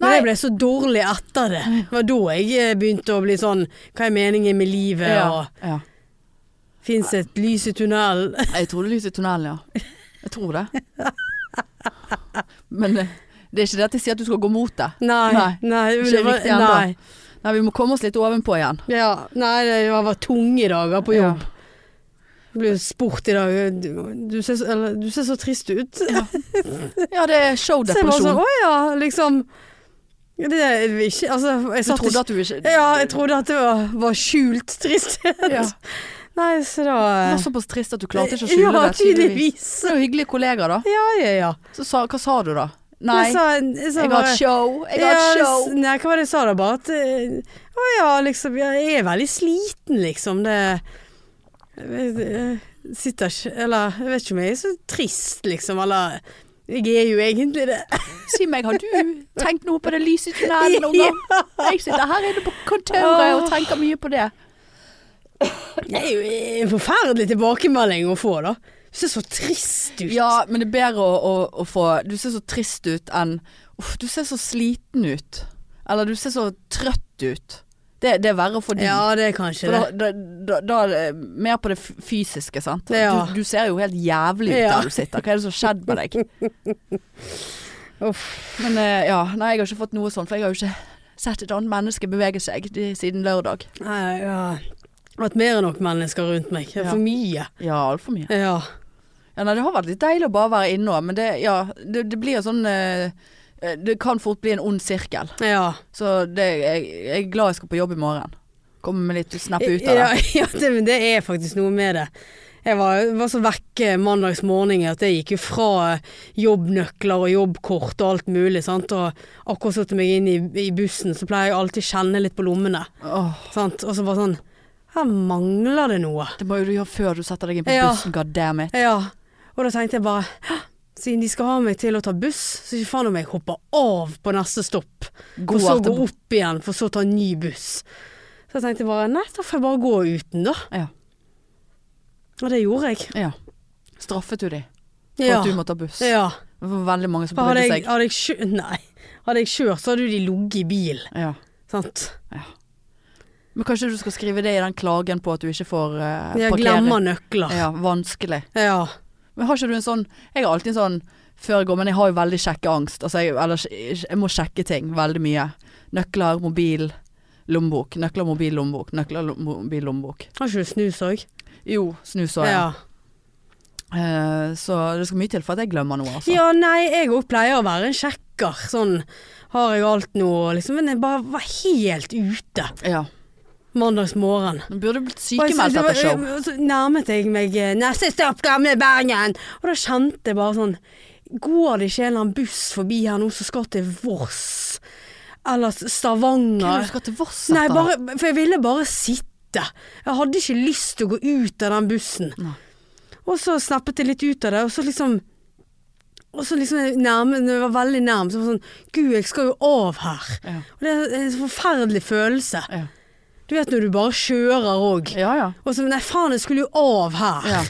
Speaker 1: Men
Speaker 2: Nei.
Speaker 1: jeg ble så dårlig etter det. Det var da jeg eh, begynte å bli sånn Hva er meningen med livet?
Speaker 2: Ja.
Speaker 1: Og
Speaker 2: ja.
Speaker 1: fins et lys i tunnelen?
Speaker 2: Jeg tror det lyser i tunnelen, ja. Jeg tror det. Men eh, det er ikke det at jeg sier at du skal gå mot det.
Speaker 1: *laughs* Nei.
Speaker 2: Nei,
Speaker 1: nei,
Speaker 2: ikke
Speaker 1: det var-
Speaker 2: riktig ennå.
Speaker 1: nei.
Speaker 2: Nei, vi må komme oss litt ovenpå igjen.
Speaker 1: Ja, nei, det var var tunge dager på jobb.
Speaker 2: Ja.
Speaker 1: Det ble jo spurt i dag. Du, du, ser, så- eller, du ser så trist ut.
Speaker 2: Ja, det
Speaker 1: Så jeg var
Speaker 2: er
Speaker 1: sånn,
Speaker 2: showdepresjon.
Speaker 1: å ja, liksom. Det er ikke Altså, jeg
Speaker 2: Du
Speaker 1: satt
Speaker 2: trodde
Speaker 1: ikke
Speaker 2: at du ikke
Speaker 1: Ja, jeg trodde at det var, var skjult tristhet.
Speaker 2: Ja.
Speaker 1: *laughs* Nei, så
Speaker 2: Det
Speaker 1: da
Speaker 2: var såpass trist at du klarte ikke å skjule
Speaker 1: Ja,
Speaker 2: det. Tydeligvis.
Speaker 1: tydeligvis.
Speaker 2: Det er jo hyggelige kollegaer, da.
Speaker 1: Ja, ja, ja.
Speaker 2: Så sa, hva sa du da? Nei,
Speaker 1: Jeg sa, jeg sa
Speaker 2: jeg har
Speaker 1: bare-
Speaker 2: et show. Jeg har
Speaker 1: Ja,
Speaker 2: et show.
Speaker 1: s- Nei, hva var det jeg sa da, bare at eh, Å ja, liksom, ja, jeg er veldig sliten, liksom. Det jeg- jeg Sitter ikke Eller jeg vet ikke om jeg er så trist, liksom, eller Jeg er jo egentlig det.
Speaker 2: Si meg,
Speaker 1: *laughs*
Speaker 2: har du tenkt noe på det lyset i tunnelen noen gang? Jeg sitter her inne på kontoret og tenker mye på det.
Speaker 1: Det er jo en forferdelig tilbakemelding å få, da. Du ser så trist ut.
Speaker 2: Ja, men det er bedre å, å, å få Du ser så trist ut enn Uff, du ser så sliten ut. Eller du ser så trøtt ut. Det, det er verre for de.
Speaker 1: Ja, det er kanskje
Speaker 2: For da,
Speaker 1: det.
Speaker 2: da, da, da er det mer på det f- fysiske, sant.
Speaker 1: Ja.
Speaker 2: Du, du ser jo helt jævlig ut
Speaker 1: Ja.
Speaker 2: der du sitter. Hva er det som har skjedd med deg?
Speaker 1: *laughs* Uff.
Speaker 2: Men eh, ja, nei, jeg har ikke fått noe sånn, for jeg har jo ikke sett et annet menneske bevege seg de, siden lørdag.
Speaker 1: Nei, ja. Det har vært mer enn nok mennesker rundt meg. Det er
Speaker 2: Ja.
Speaker 1: For mye.
Speaker 2: Ja, altfor mye.
Speaker 1: Ja.
Speaker 2: Ja, nei, det har vært litt deilig å bare være inne òg, men det, ja, det, det blir jo sånn eh, eh, Det kan fort bli en ond sirkel.
Speaker 1: ja.
Speaker 2: Så det, jeg, jeg er glad jeg skal på jobb i morgen. Komme med litt snapp ut av
Speaker 1: Ja, *laughs*
Speaker 2: det.
Speaker 1: ja det, men det er faktisk noe med det. Jeg var, var så vekke mandags morgen at jeg gikk jo fra jobbnøkler og jobbkort og alt mulig. Sant? Og akkurat satte meg inn i, i bussen, så pleier jeg alltid kjenne litt på lommene.
Speaker 2: Åh,
Speaker 1: Sant? Og så bare sånn Her mangler det noe.
Speaker 2: det må jo du gjøre før du setter deg inn på
Speaker 1: Ja.
Speaker 2: bussen, god damn it.
Speaker 1: Ja. Og da tenkte jeg bare «Hæ? Siden de skal ha meg til å ta buss, så ikke faen om jeg hopper av på neste stopp.
Speaker 2: Gå
Speaker 1: For så gå
Speaker 2: etter-
Speaker 1: opp igjen, for så ta en ny buss. Så jeg tenkte bare nei, da får jeg bare gå uten, da.
Speaker 2: Ja.
Speaker 1: Og det gjorde jeg.
Speaker 2: ja. Straffet du dem for at du må ta buss?
Speaker 1: Ja.
Speaker 2: Det var veldig mange som
Speaker 1: For hadde
Speaker 2: brydde
Speaker 1: jeg,
Speaker 2: seg.
Speaker 1: hadde jeg kjørt Nei. Hadde jeg kjørt, så hadde jo de ligget i bil.
Speaker 2: Ja.
Speaker 1: Sant?
Speaker 2: Men kanskje du skal skrive det i den klagen på at du ikke får uh,
Speaker 1: Jeg glemmer nøkler.
Speaker 2: Ja, vanskelig.
Speaker 1: Ja.
Speaker 2: Men har ikke du en sånn Jeg har alltid en sånn før jeg går, men jeg har jo veldig sjekkeangst. Altså jeg, eller, jeg må sjekke ting veldig mye. Nøkler, mobil, lommebok. Nøkler, mobil, lommebok. Nøkler, lo- mobil, lommebok.
Speaker 1: Har ikke du snus òg?
Speaker 2: Jo, snus og
Speaker 1: Ja.
Speaker 2: Eh, så det skal mye til for at jeg glemmer noe, altså.
Speaker 1: ja, nei, jeg òg pleier å være en sjekker. Sånn har jeg alt nå, liksom. Men jeg bare var helt ute
Speaker 2: Ja.
Speaker 1: mandags morgen.
Speaker 2: Du burde blitt
Speaker 1: Og jeg-
Speaker 2: sykemeldt
Speaker 1: det var-
Speaker 2: etter show.
Speaker 1: og Så nærmet jeg meg eh, neste stopp, gamle Bergen. Og da kjente jeg bare sånn Går det ikke en eller annen buss forbi her nå som skal til Voss? Eller
Speaker 2: Hvem er
Speaker 1: Stavanger?
Speaker 2: det du skal til Voss
Speaker 1: Nei,
Speaker 2: etter?
Speaker 1: bare, for jeg ville bare sitte. Jeg hadde ikke lyst til å gå ut av den bussen.
Speaker 2: Nei.
Speaker 1: Og så snappet jeg litt ut av det, og så liksom og så liksom jeg nærme, når jeg var veldig nærm, så var det sånn Gud, jeg skal jo av her.
Speaker 2: Ja.
Speaker 1: Og det er en så forferdelig følelse.
Speaker 2: Ja.
Speaker 1: Du vet når du bare kjører òg.
Speaker 2: Ja, ja.
Speaker 1: Og så Nei, faen, jeg skulle jo av her.
Speaker 2: Ja.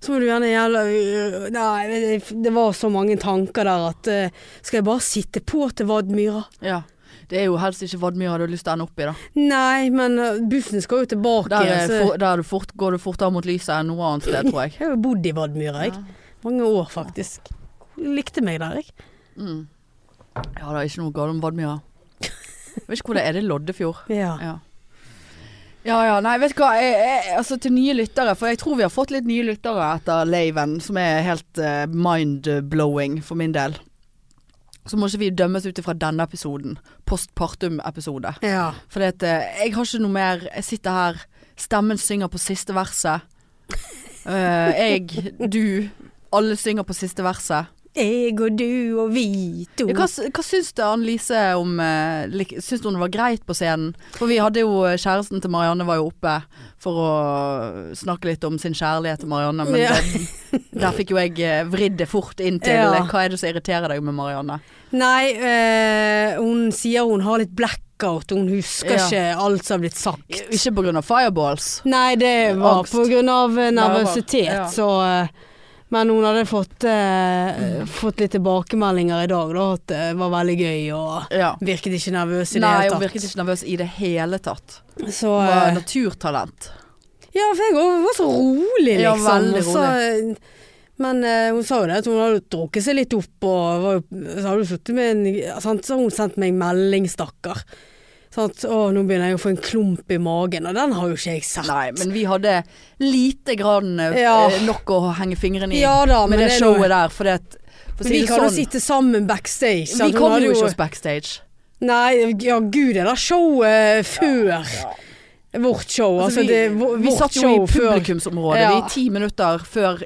Speaker 1: Så må du gjerne gjelde øh, Nei, det- det var så mange tanker der at øh, Skal jeg bare sitte på til Vadmyra?
Speaker 2: ja. Det er jo helst ikke Vadmyra du har lyst til å ende opp i, da.
Speaker 1: Nei, men eh, bussen skal jo tilbake.
Speaker 2: Der, er
Speaker 1: så-
Speaker 2: for, der er du fort, går du fortere mot lyset enn noe annet sted, tror jeg.
Speaker 1: Jeg har jo bodd i Vadmyra, jeg.
Speaker 2: Ja.
Speaker 1: Mange år, faktisk. Likte meg der, jeg.
Speaker 2: Mm. Ja, det er ikke noe galt om Vadmyra. Jeg vet ikke hvor det er. Det er Loddefjord.
Speaker 1: Ja.
Speaker 2: Ja. ja ja, nei vet du hva. Jeg, jeg, altså til nye lyttere, for jeg tror vi har fått litt nye lyttere etter Laven, som er helt eh, mind-blowing for min del. Så må ikke vi dømmes ut ifra denne episoden. Postpartum-episode.
Speaker 1: ja.
Speaker 2: For det at, eh, jeg har ikke noe mer Jeg sitter her, stemmen synger på siste
Speaker 1: *laughs*
Speaker 2: verset. Eh, jeg, du, alle synger på siste verset.
Speaker 1: Jeg og du og vi to.
Speaker 2: Ja, Hva, s- hva syns du Anne-Lise om eh, lik- Syns du hun var greit på scenen? For vi hadde jo eh, kjæresten til Marianne var jo oppe for å snakke litt om sin kjærlighet til Marianne, men
Speaker 1: Ja.
Speaker 2: det, der fikk jo jeg eh, vridd det fort inn til eh,
Speaker 1: Ja.
Speaker 2: Hva er det som irriterer deg med Marianne?
Speaker 1: Nei, eh, hun sier hun har litt blackout, og hun husker
Speaker 2: Ja.
Speaker 1: ikke alt som har blitt sagt.
Speaker 2: Ikke på grunn av fireballs.
Speaker 1: Nei, det var
Speaker 2: Angst.
Speaker 1: på grunn av eh,
Speaker 2: Nerver.
Speaker 1: nervøsitet,
Speaker 2: Ja.
Speaker 1: så eh, Men hun hadde fått, eh, fått litt tilbakemeldinger i dag, da, at det var veldig gøy og
Speaker 2: Ja.
Speaker 1: virket ikke nervøs i det
Speaker 2: Nei, hun
Speaker 1: hele
Speaker 2: virket ikke nervøs i det hele tatt.
Speaker 1: tatt. Så
Speaker 2: Hun var
Speaker 1: eh,
Speaker 2: naturtalent.
Speaker 1: Ja, for jeg var var så rolig,
Speaker 2: Ja,
Speaker 1: liksom. Og
Speaker 2: veldig
Speaker 1: så, men eh, hun sa jo det, at hun hadde drukket seg litt opp, og var, jo- så hadde hun sittet med en ja, sant? Så har hun sendt meg melding, stakkar. Sånn at, å, nå begynner jeg å få en klump i magen, og den har jo ikke jeg sett.
Speaker 2: Nei, men vi hadde lite grann eh,
Speaker 1: Ja.
Speaker 2: nok å henge fingrene i
Speaker 1: Ja da, men
Speaker 2: med det,
Speaker 1: det er
Speaker 2: showet
Speaker 1: noe-
Speaker 2: der. For det, at- for å si
Speaker 1: vi
Speaker 2: det
Speaker 1: kan jo
Speaker 2: sånn,
Speaker 1: sitte sammen backstage. sant?
Speaker 2: Vi
Speaker 1: Hun
Speaker 2: kom
Speaker 1: hadde
Speaker 2: jo ikke oss backstage.
Speaker 1: Nei, ja gud, det der showet før vårt show. Altså,
Speaker 2: vi,
Speaker 1: det, vår,
Speaker 2: vi
Speaker 1: vårt
Speaker 2: satt jo
Speaker 1: show
Speaker 2: i publikumsområdet
Speaker 1: Ja.
Speaker 2: i ti minutter før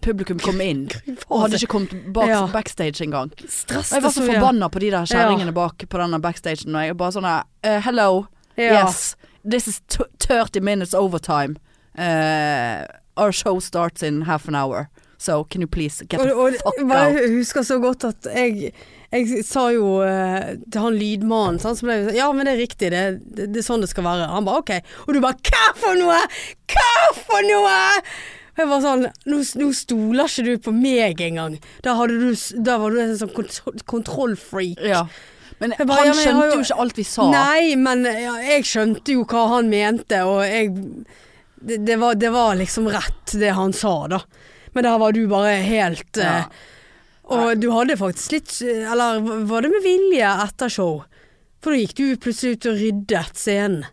Speaker 2: publikum kom inn.
Speaker 1: før.
Speaker 2: Og hadde ikke kommet bak
Speaker 1: Ja.
Speaker 2: backstage engang. Og
Speaker 1: stresset
Speaker 2: jeg var så
Speaker 1: vi-
Speaker 2: forbanna på de der kjerringene bak på denne backstagen. Og jeg bare sånn eh, Hello,
Speaker 1: Ja.
Speaker 2: yes, this is t 30 minutes overtime. Eh, our show starts in half an hour. So can you please get
Speaker 1: Og,
Speaker 2: the
Speaker 1: og,
Speaker 2: fuck
Speaker 1: bare
Speaker 2: out?
Speaker 1: husker så godt at jeg, jeg sa jo eh, til han lydmannen sant, så ble jeg sånn, Ja, men det er riktig, det, det, det er sånn det skal være. Han bare OK. Og du bare Hva for noe?! Hva for noe?! Og Jeg var sånn nå, nå stoler ikke du på meg engang. Da, hadde du, s- da var du en sånn kont- kontrollfreak.
Speaker 2: Ja. Men
Speaker 1: Jeg bare,
Speaker 2: han
Speaker 1: ja, men jeg har
Speaker 2: skjønte
Speaker 1: jo-
Speaker 2: jo ikke alt vi sa.
Speaker 1: Nei, men ja, jeg skjønte jo hva han mente, og jeg det, det, var, det var liksom rett, det han sa, da. Men der var du bare helt
Speaker 2: Ja.
Speaker 1: eh, Og du hadde faktisk litt Eller var det med vilje etter show? For da gikk du plutselig ut og ryddet scenen.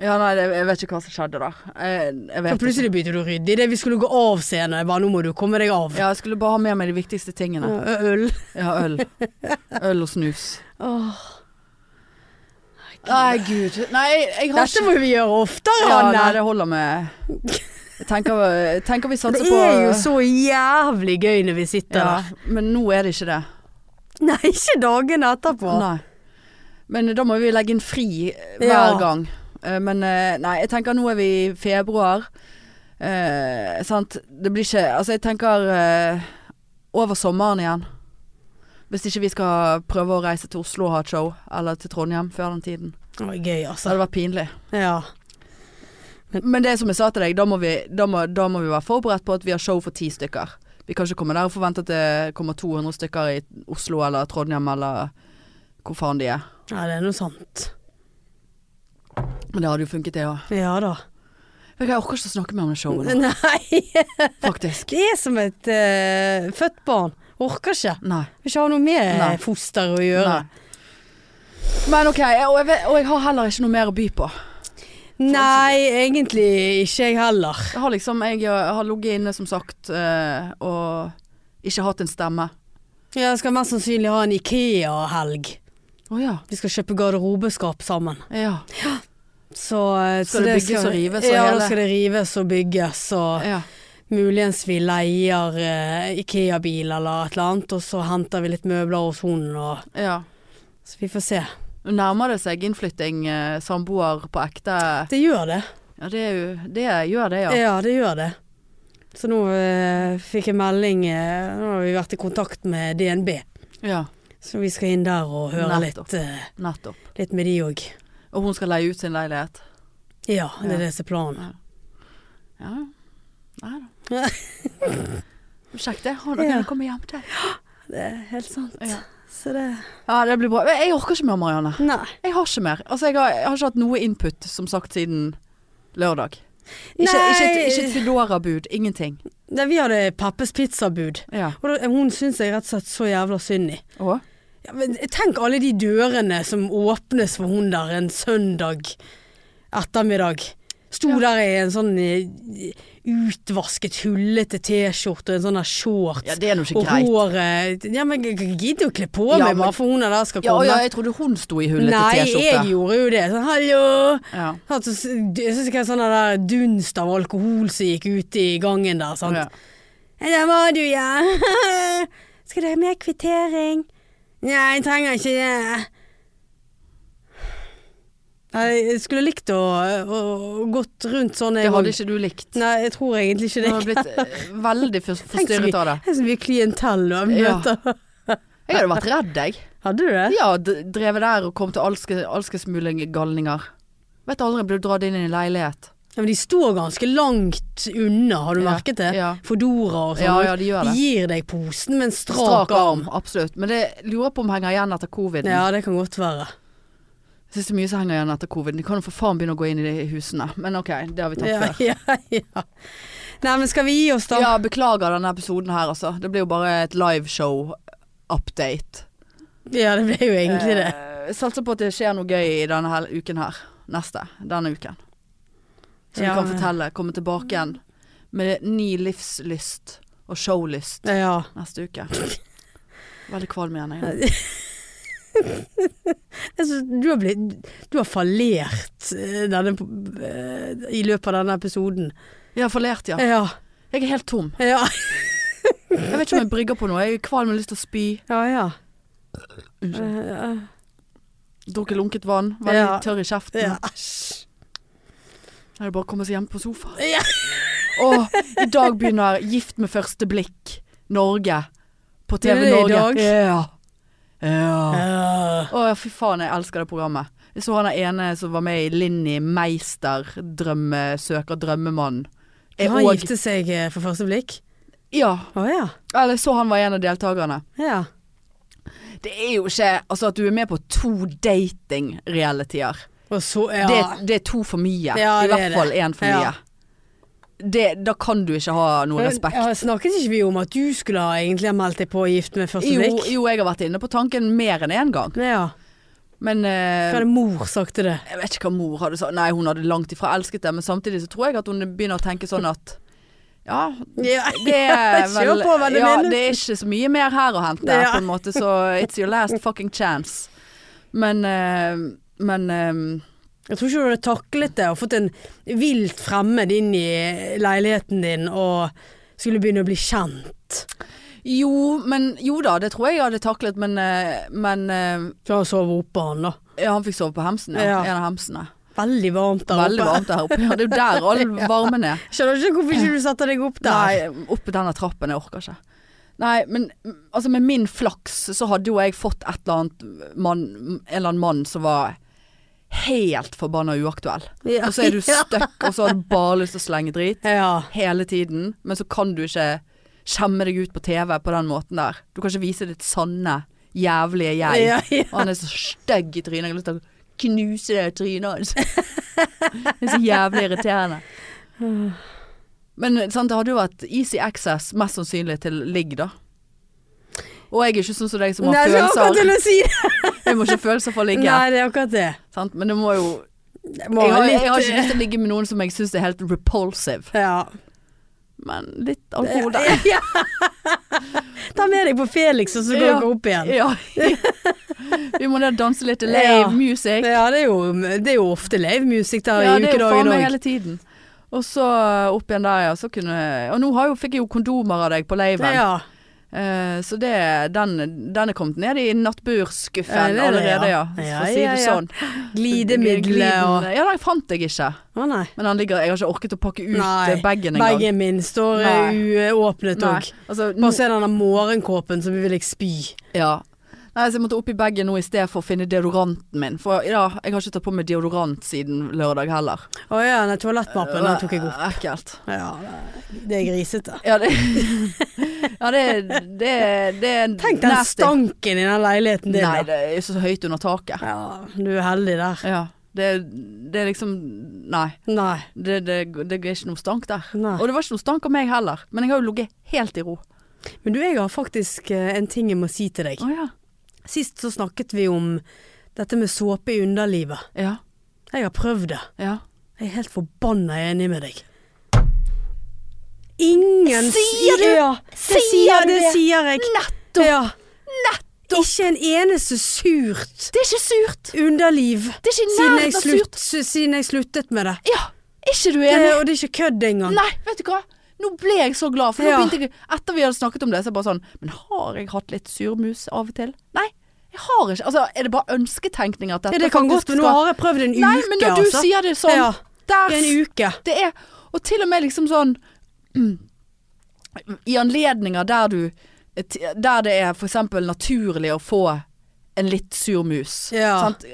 Speaker 2: Ja, nei, det, jeg vet ikke hva som skjedde der. Jeg, jeg
Speaker 1: Og
Speaker 2: vet ikke.
Speaker 1: plutselig begynte du å rydde idet vi skulle gå av scenen. og Jeg bare 'nå må du komme deg av'.
Speaker 2: Ja, jeg skulle bare ha med meg de viktigste tingene.
Speaker 1: Ja, Øl.
Speaker 2: Ja, øl. *laughs* Øl og snus.
Speaker 1: Åh.
Speaker 2: Nei, gud. Nei, jeg har
Speaker 1: Dette må vi gjøre oftere,
Speaker 2: Ja,
Speaker 1: Anne.
Speaker 2: nei, det holder med Jeg tenker, jeg tenker vi
Speaker 1: det
Speaker 2: satser på
Speaker 1: er jo så jævlig gøy når vi sitter
Speaker 2: ja,
Speaker 1: der. *laughs*
Speaker 2: Men nå er det ikke det.
Speaker 1: Nei, ikke dagene etterpå.
Speaker 2: Nei. Men da må vi legge inn fri eh, hver
Speaker 1: Ja.
Speaker 2: gang. Eh, Men eh, nei, jeg tenker nå er vi i februar. Eh, sant. Det blir ikke Altså, jeg tenker eh, over sommeren igjen. Hvis ikke vi skal prøve å reise til Oslo og ha et show, eller til Trondheim før den tiden.
Speaker 1: Det var gøy, altså.
Speaker 2: Så hadde det vært pinlig.
Speaker 1: Ja.
Speaker 2: Men det som jeg sa til deg, da må, vi, da, må, da må vi være forberedt på at vi har show for ti stykker. Vi kan ikke komme der og forvente at det kommer 200 stykker i Oslo eller Trondheim eller hvor faen de er.
Speaker 1: ja, det er noe sant.
Speaker 2: Men det hadde jo funket, det òg.
Speaker 1: Ja da.
Speaker 2: Jeg orker ikke å snakke mer om det showet
Speaker 1: *laughs*
Speaker 2: nå,
Speaker 1: Nei,
Speaker 2: faktisk.
Speaker 1: det er som et eh, født barn. Orker ikke.
Speaker 2: Nei.
Speaker 1: Vil ikke ha noe med
Speaker 2: Nei.
Speaker 1: foster å gjøre.
Speaker 2: Nei. Men OK, og jeg, vet, og jeg har heller ikke noe mer å by på.
Speaker 1: Nei, egentlig ikke jeg heller.
Speaker 2: Jeg har liksom Jeg har ligget inne, som sagt, eh, og ikke hatt en stemme.
Speaker 1: Jeg skal mest sannsynlig ha en Ikea-helg.
Speaker 2: Å ja.
Speaker 1: Vi skal kjøpe garderobeskap sammen.
Speaker 2: Ja.
Speaker 1: Så, eh,
Speaker 2: Skal det bygges og rives og
Speaker 1: Ja,
Speaker 2: hele?
Speaker 1: da skal det rives og bygges. Og
Speaker 2: ja.
Speaker 1: muligens vi leier eh, Ikea-bil eller et eller annet, og så henter vi litt møbler hos hunden. Og...
Speaker 2: ja.
Speaker 1: Så vi får se.
Speaker 2: Nå Nærmer det seg innflytting, eh, samboer på ekte?
Speaker 1: Det gjør det.
Speaker 2: Ja, det, er jo, det gjør det, ja.
Speaker 1: Ja. det gjør det. Så nå eh, fikk jeg melding eh, Nå har vi vært i kontakt med DNB,
Speaker 2: ja.
Speaker 1: så vi skal inn der og høre
Speaker 2: Nettopp.
Speaker 1: litt, eh,
Speaker 2: Nettopp.
Speaker 1: litt med de òg.
Speaker 2: Og hun skal leie ut sin leilighet.
Speaker 1: Ja, det
Speaker 2: Ja.
Speaker 1: er det som er planen.
Speaker 2: Ja. Nei
Speaker 1: *laughs*
Speaker 2: da. Sjekk det. Han
Speaker 1: Ja.
Speaker 2: kan komme hjem til.
Speaker 1: Det er helt sant.
Speaker 2: Ja.
Speaker 1: Så det
Speaker 2: Ja, det blir bra. Men Jeg orker ikke mer, Marianne.
Speaker 1: Nei.
Speaker 2: Jeg har ikke mer. Altså, jeg har, jeg har ikke hatt noe input, som sagt, siden lørdag. Ikke, ikke,
Speaker 1: Nei.
Speaker 2: et- ikke et Foodora-bud. Ingenting.
Speaker 1: Nei, vi hadde Pappes pizzabud.
Speaker 2: Ja.
Speaker 1: Og da, hun syns jeg rett og slett så jævla synd i.
Speaker 2: Og?
Speaker 1: Ja, men tenk alle de dørene som åpnes for hun der en søndag ettermiddag. Sto
Speaker 2: Ja.
Speaker 1: der i en sånn eh, utvasket, hullete T-skjorte og en sånn der shorts.
Speaker 2: Ja, det er nå ikke
Speaker 1: og
Speaker 2: greit.
Speaker 1: håret Ja, men jeg gidder jo å kle på
Speaker 2: Ja,
Speaker 1: meg
Speaker 2: men-
Speaker 1: bare for hun der skal
Speaker 2: Ja,
Speaker 1: komme.
Speaker 2: ja, jeg trodde hun sto i hullet
Speaker 1: Nei,
Speaker 2: til T-skjorte.
Speaker 1: jeg gjorde jo det. Sånn, hallo! Sånn,
Speaker 2: Ja.
Speaker 1: Jeg syns ikke det er sånn der dunst av alkohol som gikk ut i gangen der. Sant?
Speaker 2: Ja.
Speaker 1: Ja, Der var du, ja. *laughs* Skal dere ha mer kvittering? Nei, jeg trenger ikke det. Nei, Jeg skulle likt å, å å gått rundt sånn. jeg
Speaker 2: Det hadde
Speaker 1: òg.
Speaker 2: ikke du likt.
Speaker 1: Nei, jeg tror egentlig ikke
Speaker 2: Du
Speaker 1: det.
Speaker 2: hadde blitt eh, *laughs* veldig for-
Speaker 1: Tenk så mye-
Speaker 2: forstyrret av det.
Speaker 1: Tenk så mye klientell du har
Speaker 2: Ja.
Speaker 1: møtt.
Speaker 2: Jeg hadde vært redd, jeg.
Speaker 1: Hadde du det?
Speaker 2: Ja, d- drevet der og kom til alske- alskesmugling-galninger. Vet aldri, blir du dratt inn i en leilighet.
Speaker 1: Ja, men de står ganske langt unna, har du
Speaker 2: Ja,
Speaker 1: merket det?
Speaker 2: ja.
Speaker 1: Fodora og sånn.
Speaker 2: Ja, ja, de gjør det.
Speaker 1: De gir deg posen med en strak,
Speaker 2: Strak
Speaker 1: arm.
Speaker 2: arm, absolutt. Men det lurer på om henger igjen etter covid.
Speaker 1: Ja, det kan godt være.
Speaker 2: Jeg synes det er mye som henger igjen etter covid. De kan jo for faen begynne å gå inn i de husene. Men ok, det har vi tatt
Speaker 1: Ja,
Speaker 2: før.
Speaker 1: *laughs* ja, ja. Nei, men skal vi gi oss da?
Speaker 2: Ja, beklager denne episoden her, altså. Det blir jo bare et liveshow-update.
Speaker 1: Ja, det ble jo egentlig det.
Speaker 2: Eh, satser på at det skjer noe gøy i denne her uken her. Neste. Denne uken. Så
Speaker 1: Ja,
Speaker 2: vi kan
Speaker 1: men-
Speaker 2: fortelle. Komme tilbake igjen med ny livslyst og showlyst
Speaker 1: Ja.
Speaker 2: neste uke. Veldig kvalm igjen, jeg.
Speaker 1: Jeg synes Altså, du har blitt Du har fallert eh, denne eh, i løpet av denne episoden.
Speaker 2: Jeg har fallert, ja.
Speaker 1: Ja.
Speaker 2: Jeg er helt tom.
Speaker 1: Ja,
Speaker 2: Jeg vet ikke om jeg brygger på noe. Jeg er kvalm og har lyst til å spy.
Speaker 1: ja. ja.
Speaker 2: Unnskyld.
Speaker 1: Eh,
Speaker 2: Drukket lunket vann. Veldig
Speaker 1: Ja.
Speaker 2: tørr i kjeften.
Speaker 1: ja. Æsj.
Speaker 2: Da er det bare å komme seg hjem på sofaen.
Speaker 1: *laughs* Ja.
Speaker 2: Åh, i dag begynner Gift med første blikk Norge på TV
Speaker 1: Begynner det i
Speaker 2: Norge.
Speaker 1: dag?
Speaker 2: Ja. ja.
Speaker 1: Eh,
Speaker 2: Å, fy faen, jeg elsker det programmet. Jeg så han der ene som var med i Linni Meister, drømmesøker, drømmemann. Er
Speaker 1: Han
Speaker 2: og-
Speaker 1: gifte seg eh, for første blikk?
Speaker 2: Ja.
Speaker 1: Å ja.
Speaker 2: Eller jeg så han var en av deltakerne.
Speaker 1: ja.
Speaker 2: Det er jo ikke Altså, at du er med på to dating-realityer.
Speaker 1: Og så Ja.
Speaker 2: Det, det er to for mye.
Speaker 1: Ja,
Speaker 2: I
Speaker 1: det er
Speaker 2: hvert
Speaker 1: det.
Speaker 2: fall én for
Speaker 1: Ja.
Speaker 2: mye. Det, da kan du ikke ha noe respekt.
Speaker 1: Ja, snakket ikke vi om at du skulle ha egentlig ha meldt deg på gift med første
Speaker 2: Jo,
Speaker 1: blikk?
Speaker 2: jo, jeg har vært inne på tanken mer enn én gang.
Speaker 1: Ja.
Speaker 2: Men eh,
Speaker 1: Hva hadde mor sagt til det?
Speaker 2: jeg vet ikke hva mor hadde sagt. Nei, hun hadde langt ifra elsket det, men samtidig så tror jeg at hun begynner å tenke sånn at ja,
Speaker 1: Ja,
Speaker 2: det er
Speaker 1: Kjør
Speaker 2: vel
Speaker 1: på, vennen
Speaker 2: ja,
Speaker 1: min.
Speaker 2: Det er ikke så mye mer her å hente,
Speaker 1: Ja.
Speaker 2: på en måte, så it's your last fucking chance. Men eh, men eh,
Speaker 1: Jeg tror ikke du hadde taklet det og fått en vilt fremmed inn i leiligheten din og skulle begynne å bli kjent.
Speaker 2: jo, men jo da, det tror jeg jeg hadde taklet, men, eh, men eh,
Speaker 1: For han sover oppe, han da.
Speaker 2: ja, han fikk sove på hemsen, ja.
Speaker 1: Ja.
Speaker 2: En av hemsene.
Speaker 1: Veldig varmt der
Speaker 2: Veldig
Speaker 1: oppe.
Speaker 2: varmt der oppe. Ja, det er jo der all varmen er.
Speaker 1: Skjønner ikke hvorfor ikke du setter deg opp der.
Speaker 2: Nei, opp denne trappen, jeg orker ikke. Nei, men mm, altså med min flaks så hadde jo jeg fått et eller annet mann, en eller annen mann som var helt forbanna uaktuell.
Speaker 1: Ja.
Speaker 2: Og så
Speaker 1: *laughs*
Speaker 2: er du stuck, og så har du bare lyst til å slenge drit
Speaker 1: Ja.
Speaker 2: hele tiden, men så kan du ikke skjemme deg ut på TV på den måten der. Du kan ikke vise ditt sanne, jævlige jeg.
Speaker 1: Ja, ja.
Speaker 2: Og han er så stygg i trynet, jeg har lyst til å knuse det i trynet hans. Det er så jævlig irriterende. Men sant, det hadde jo vært easy access mest sannsynlig til ligg, da. Og jeg er ikke sånn som deg som
Speaker 1: Nei,
Speaker 2: har
Speaker 1: det var akkurat
Speaker 2: følelser.
Speaker 1: til å si det.
Speaker 2: Jeg må ikke ha følelser for å ligge.
Speaker 1: Nei, det er akkurat det.
Speaker 2: Sant? Men det må jo
Speaker 1: Jeg må
Speaker 2: jeg
Speaker 1: ha
Speaker 2: har, jeg har
Speaker 1: litt eh,
Speaker 2: ikke lyst til å ligge med noen som jeg syns er helt repulsive.
Speaker 1: Ja.
Speaker 2: Men litt alkohol der.
Speaker 1: Ja, *laughs* ja. Ta med deg på Felix, og så går
Speaker 2: Ja.
Speaker 1: dere opp igjen. *laughs*
Speaker 2: Ja. Vi må da danse litt lave
Speaker 1: Ja.
Speaker 2: music.
Speaker 1: Ja, det er jo, det er jo ofte live music der
Speaker 2: Ja,
Speaker 1: i
Speaker 2: det er jo faen
Speaker 1: ukedagen
Speaker 2: meg
Speaker 1: òg.
Speaker 2: hele tiden. Og så eh, opp igjen der, ja. Så kunne, og nå har jo, fikk jeg jo kondomer av deg på laven.
Speaker 1: Ja.
Speaker 2: Eh, så det, den, den er kommet ned i
Speaker 1: Ja,
Speaker 2: nattburskuffen
Speaker 1: Eh, det er det, ja.
Speaker 2: allerede, ja.
Speaker 1: Ja,
Speaker 2: For å si
Speaker 1: ja,
Speaker 2: det
Speaker 1: ja.
Speaker 2: sånn.
Speaker 1: Glidemiddelet og
Speaker 2: Ja, den fant jeg ikke.
Speaker 1: Å nei.
Speaker 2: Men den ligger, jeg har ikke orket å pakke ut
Speaker 1: Nei,
Speaker 2: eh, bagen engang.
Speaker 1: Bagen min står
Speaker 2: Nei.
Speaker 1: eh, uåpnet
Speaker 2: Nei,
Speaker 1: òg.
Speaker 2: altså, nå,
Speaker 1: Bare se den der morgenkåpen, så vil jeg spy.
Speaker 2: ja. Nei, så jeg måtte opp i bagen nå i stedet for å finne deodoranten min. For ja, jeg har ikke tatt på meg deodorant siden lørdag heller. Eh,
Speaker 1: Å ja, nei, toalettmappen den tok jeg opp.
Speaker 2: Ekkelt.
Speaker 1: Ja, det er grisete.
Speaker 2: Ja, det, *laughs* Ja, det, det, det er
Speaker 1: Tenk den
Speaker 2: nasty.
Speaker 1: stanken i den leiligheten din.
Speaker 2: Nei,
Speaker 1: da.
Speaker 2: det er jo så høyt under taket.
Speaker 1: Ja, du er heldig der.
Speaker 2: Ja. Det, det er liksom Nei.
Speaker 1: Nei.
Speaker 2: Det, det, det er ikke noe stank der.
Speaker 1: Nei.
Speaker 2: Og det var ikke noe stank av meg heller. Men jeg har jo ligget helt i ro.
Speaker 1: Men du, jeg har faktisk eh, en ting jeg må si til deg.
Speaker 2: Å ja.
Speaker 1: Sist så snakket vi om dette med såpe i underlivet.
Speaker 2: Ja.
Speaker 1: Jeg har prøvd det.
Speaker 2: ja.
Speaker 1: Jeg er helt forbanna enig med deg. Ingen
Speaker 2: Sier du?
Speaker 1: Ja, det
Speaker 2: Sier
Speaker 1: sier,
Speaker 2: du
Speaker 1: det
Speaker 2: det?
Speaker 1: sier jeg.
Speaker 2: Nettopp!
Speaker 1: Ja. Ikke en eneste surt
Speaker 2: Det er ikke surt!
Speaker 1: underliv
Speaker 2: Det er ikke i
Speaker 1: siden jeg,
Speaker 2: nærheten av
Speaker 1: slutt,
Speaker 2: surt.
Speaker 1: siden jeg sluttet med det.
Speaker 2: Ja, er ikke du
Speaker 1: det.
Speaker 2: enig?
Speaker 1: Og det er ikke kødd engang.
Speaker 2: Nei, vet du hva? Nå ble jeg så glad, for nå
Speaker 1: Ja.
Speaker 2: begynte jeg Etter vi hadde snakket om det, så er jeg bare sånn Men har jeg hatt litt surmus av og til? Nei, jeg har ikke Altså, er det bare ønsketenkning at dette
Speaker 1: Ja, det kan godt,
Speaker 2: faktisk
Speaker 1: men nå har jeg prøvd en uke,
Speaker 2: Nei, men når du
Speaker 1: altså.
Speaker 2: sier det sånn
Speaker 1: Ja,
Speaker 2: Der
Speaker 1: en uke.
Speaker 2: Det er Og til og med liksom sånn I anledninger der du Der det er for eksempel naturlig å få en litt sur mus.
Speaker 1: Ja.
Speaker 2: Sant?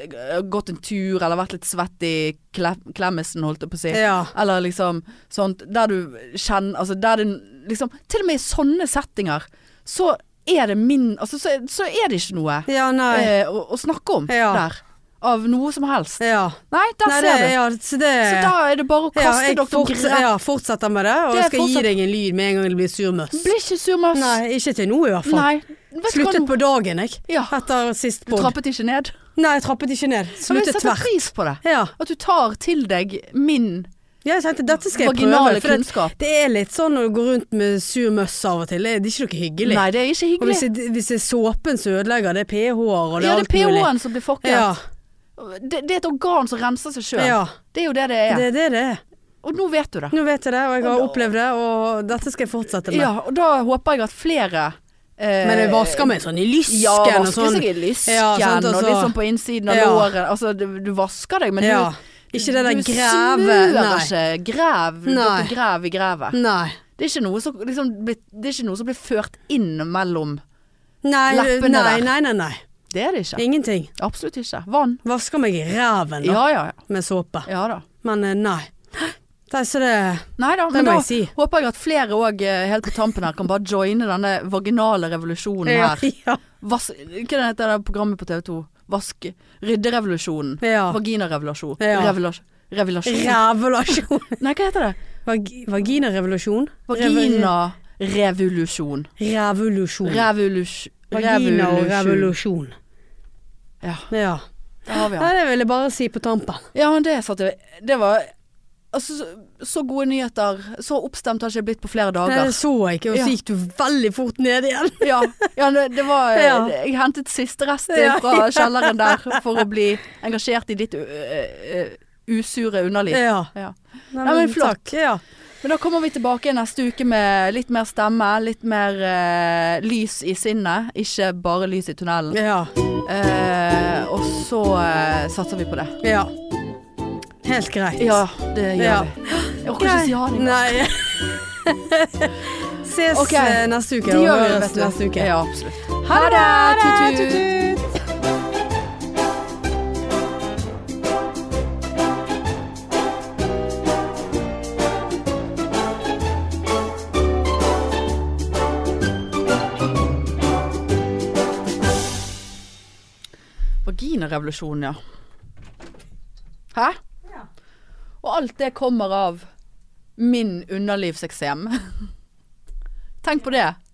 Speaker 2: Gått en tur eller vært litt svett i kle klemmesen, holdt jeg på å si.
Speaker 1: Ja.
Speaker 2: Eller liksom sånt Der du kjenner Altså der det liksom Til og med i sånne settinger så er det min Altså så, så er det ikke noe
Speaker 1: Ja, nei.
Speaker 2: eh, å, å snakke om
Speaker 1: Ja.
Speaker 2: der. Av noe som helst.
Speaker 1: Ja.
Speaker 2: Nei, der
Speaker 1: Nei, det,
Speaker 2: ser du.
Speaker 1: ja, så det
Speaker 2: Så da er det bare å
Speaker 1: ja,
Speaker 2: kaste
Speaker 1: jeg
Speaker 2: dere
Speaker 1: forts-
Speaker 2: greit
Speaker 1: ja, fortsetter med det, og
Speaker 2: Det
Speaker 1: jeg skal
Speaker 2: fortsetter.
Speaker 1: gi deg en lyd med en gang det blir surmøss.
Speaker 2: Blir ikke sur med oss.
Speaker 1: Nei, ikke til nå i hvert fall.
Speaker 2: Nei. Vet du hva
Speaker 1: Sluttet
Speaker 2: nå?
Speaker 1: på dagen, jeg.
Speaker 2: Ja.
Speaker 1: Etter sist
Speaker 2: Du
Speaker 1: podd.
Speaker 2: trappet ikke ned.
Speaker 1: Nei, jeg trappet ikke ned.
Speaker 2: Men jeg
Speaker 1: Sluttet
Speaker 2: setter
Speaker 1: tvert.
Speaker 2: pris på det.
Speaker 1: Ja.
Speaker 2: At du tar til deg min
Speaker 1: Jeg tenkte dette skal jeg
Speaker 2: Vaginale
Speaker 1: prøve. For det,
Speaker 2: kunnskap.
Speaker 1: det er litt sånn når du går rundt med sur møss av og til. Det er det er ikke noe hyggelig.
Speaker 2: Nei, det er ikke
Speaker 1: Og hvis
Speaker 2: hyggelig.
Speaker 1: det, hvis det er såpen som ødelegger, det er pH-er og det
Speaker 2: Ja,
Speaker 1: er
Speaker 2: det er
Speaker 1: alt mulig.
Speaker 2: pH-en som blir fucket.
Speaker 1: Ja,
Speaker 2: Det, det er et organ som renser seg sjøl.
Speaker 1: ja.
Speaker 2: Det er jo det det er.
Speaker 1: Det er det det er.
Speaker 2: Og nå vet du det.
Speaker 1: Nå vet jeg det, og jeg
Speaker 2: Og
Speaker 1: har
Speaker 2: da-
Speaker 1: opplevd det, og dette skal jeg fortsette med.
Speaker 2: Ja, og da håper jeg at flere eh,
Speaker 1: Men jeg vasker meg sånn i lysken
Speaker 2: Ja,
Speaker 1: og
Speaker 2: vasker
Speaker 1: sånn.
Speaker 2: seg i lysken
Speaker 1: Ja, sant,
Speaker 2: og
Speaker 1: altså.
Speaker 2: litt sånn på innsiden av
Speaker 1: Ja.
Speaker 2: låret. Altså, du, du vasker deg, men
Speaker 1: Ja.
Speaker 2: du,
Speaker 1: Ikke det der
Speaker 2: du
Speaker 1: greve.
Speaker 2: smører
Speaker 1: Nei.
Speaker 2: ikke. Grev.
Speaker 1: Nei.
Speaker 2: Dere grev i grevet.
Speaker 1: Nei.
Speaker 2: Det er ikke noe som, liksom, blir- det er ikke noe som blir ført inn mellom
Speaker 1: Nei,
Speaker 2: Leppene
Speaker 1: nei,
Speaker 2: der.
Speaker 1: nei, nei, nei.
Speaker 2: Det er det ikke.
Speaker 1: Ingenting.
Speaker 2: Absolutt ikke. Vann.
Speaker 1: Vasker meg i ræven da,
Speaker 2: Ja, ja, ja.
Speaker 1: med såpe.
Speaker 2: ja da.
Speaker 1: Men eh, nei. Nei, så det
Speaker 2: Nei da,
Speaker 1: Det
Speaker 2: men
Speaker 1: må
Speaker 2: da
Speaker 1: jeg si.
Speaker 2: håper jeg at flere òg helt på tampen her kan bare joine denne vaginale
Speaker 1: *laughs*
Speaker 2: revolusjonen
Speaker 1: Ja,
Speaker 2: her.
Speaker 1: ja.
Speaker 2: Vas Hva heter det der programmet på TV 2? Vask... Rydderevolusjonen.
Speaker 1: Ja.
Speaker 2: Vaginarevolusjon.
Speaker 1: Ja.
Speaker 2: Revolusjon. Revolusjon.
Speaker 1: Revolusjon.
Speaker 2: Nei, hva heter det?
Speaker 1: Vag vaginarevolusjon? Revo-
Speaker 2: Vaginarevolusjon.
Speaker 1: Revolusjon.
Speaker 2: Revolusjon.
Speaker 1: Vagina og revolusjon.
Speaker 2: Ja,
Speaker 1: Ja.
Speaker 2: det har vi han.
Speaker 1: Nei, det vil jeg bare si på tampen.
Speaker 2: Ja, men det satte jeg Det var altså, så- så gode nyheter. Så oppstemt har jeg ikke blitt på flere
Speaker 1: Nei,
Speaker 2: dager.
Speaker 1: det så jeg ikke, og
Speaker 2: Ja.
Speaker 1: så gikk du veldig fort ned igjen.
Speaker 2: Ja, ja det, det var
Speaker 1: Ja.
Speaker 2: Jeg hentet siste rest
Speaker 1: Ja.
Speaker 2: fra kjelleren der for å bli engasjert i ditt ø, ø, ø, usure underliv.
Speaker 1: Ja.
Speaker 2: Ja.
Speaker 1: Nei,
Speaker 2: men flott.
Speaker 1: Takk. Ja.
Speaker 2: Men da kommer vi tilbake neste uke med litt mer stemme, litt mer ø, lys i sinnet. Ikke bare lys i tunnelen.
Speaker 1: ja.
Speaker 2: Eh, og så ø, satser vi på det.
Speaker 1: Ja. Helt greit.
Speaker 2: Ja, det gjør
Speaker 1: Ja.
Speaker 2: vi. *gasps* Jeg orker ikke si ha det. *laughs*
Speaker 1: Nei. Ses
Speaker 2: Ok.
Speaker 1: eh, neste uke.
Speaker 2: Det gjør vi,
Speaker 1: og høres
Speaker 2: vet du.
Speaker 1: Neste uke.
Speaker 2: Ja, absolutt.
Speaker 1: Ha det!
Speaker 2: Ha det,
Speaker 1: Tut-tut!
Speaker 2: Vaginarevolusjon, ja. Hæ?
Speaker 1: Ja.
Speaker 2: Og alt det kommer av min underlivseksem. *laughs* Tenk på det.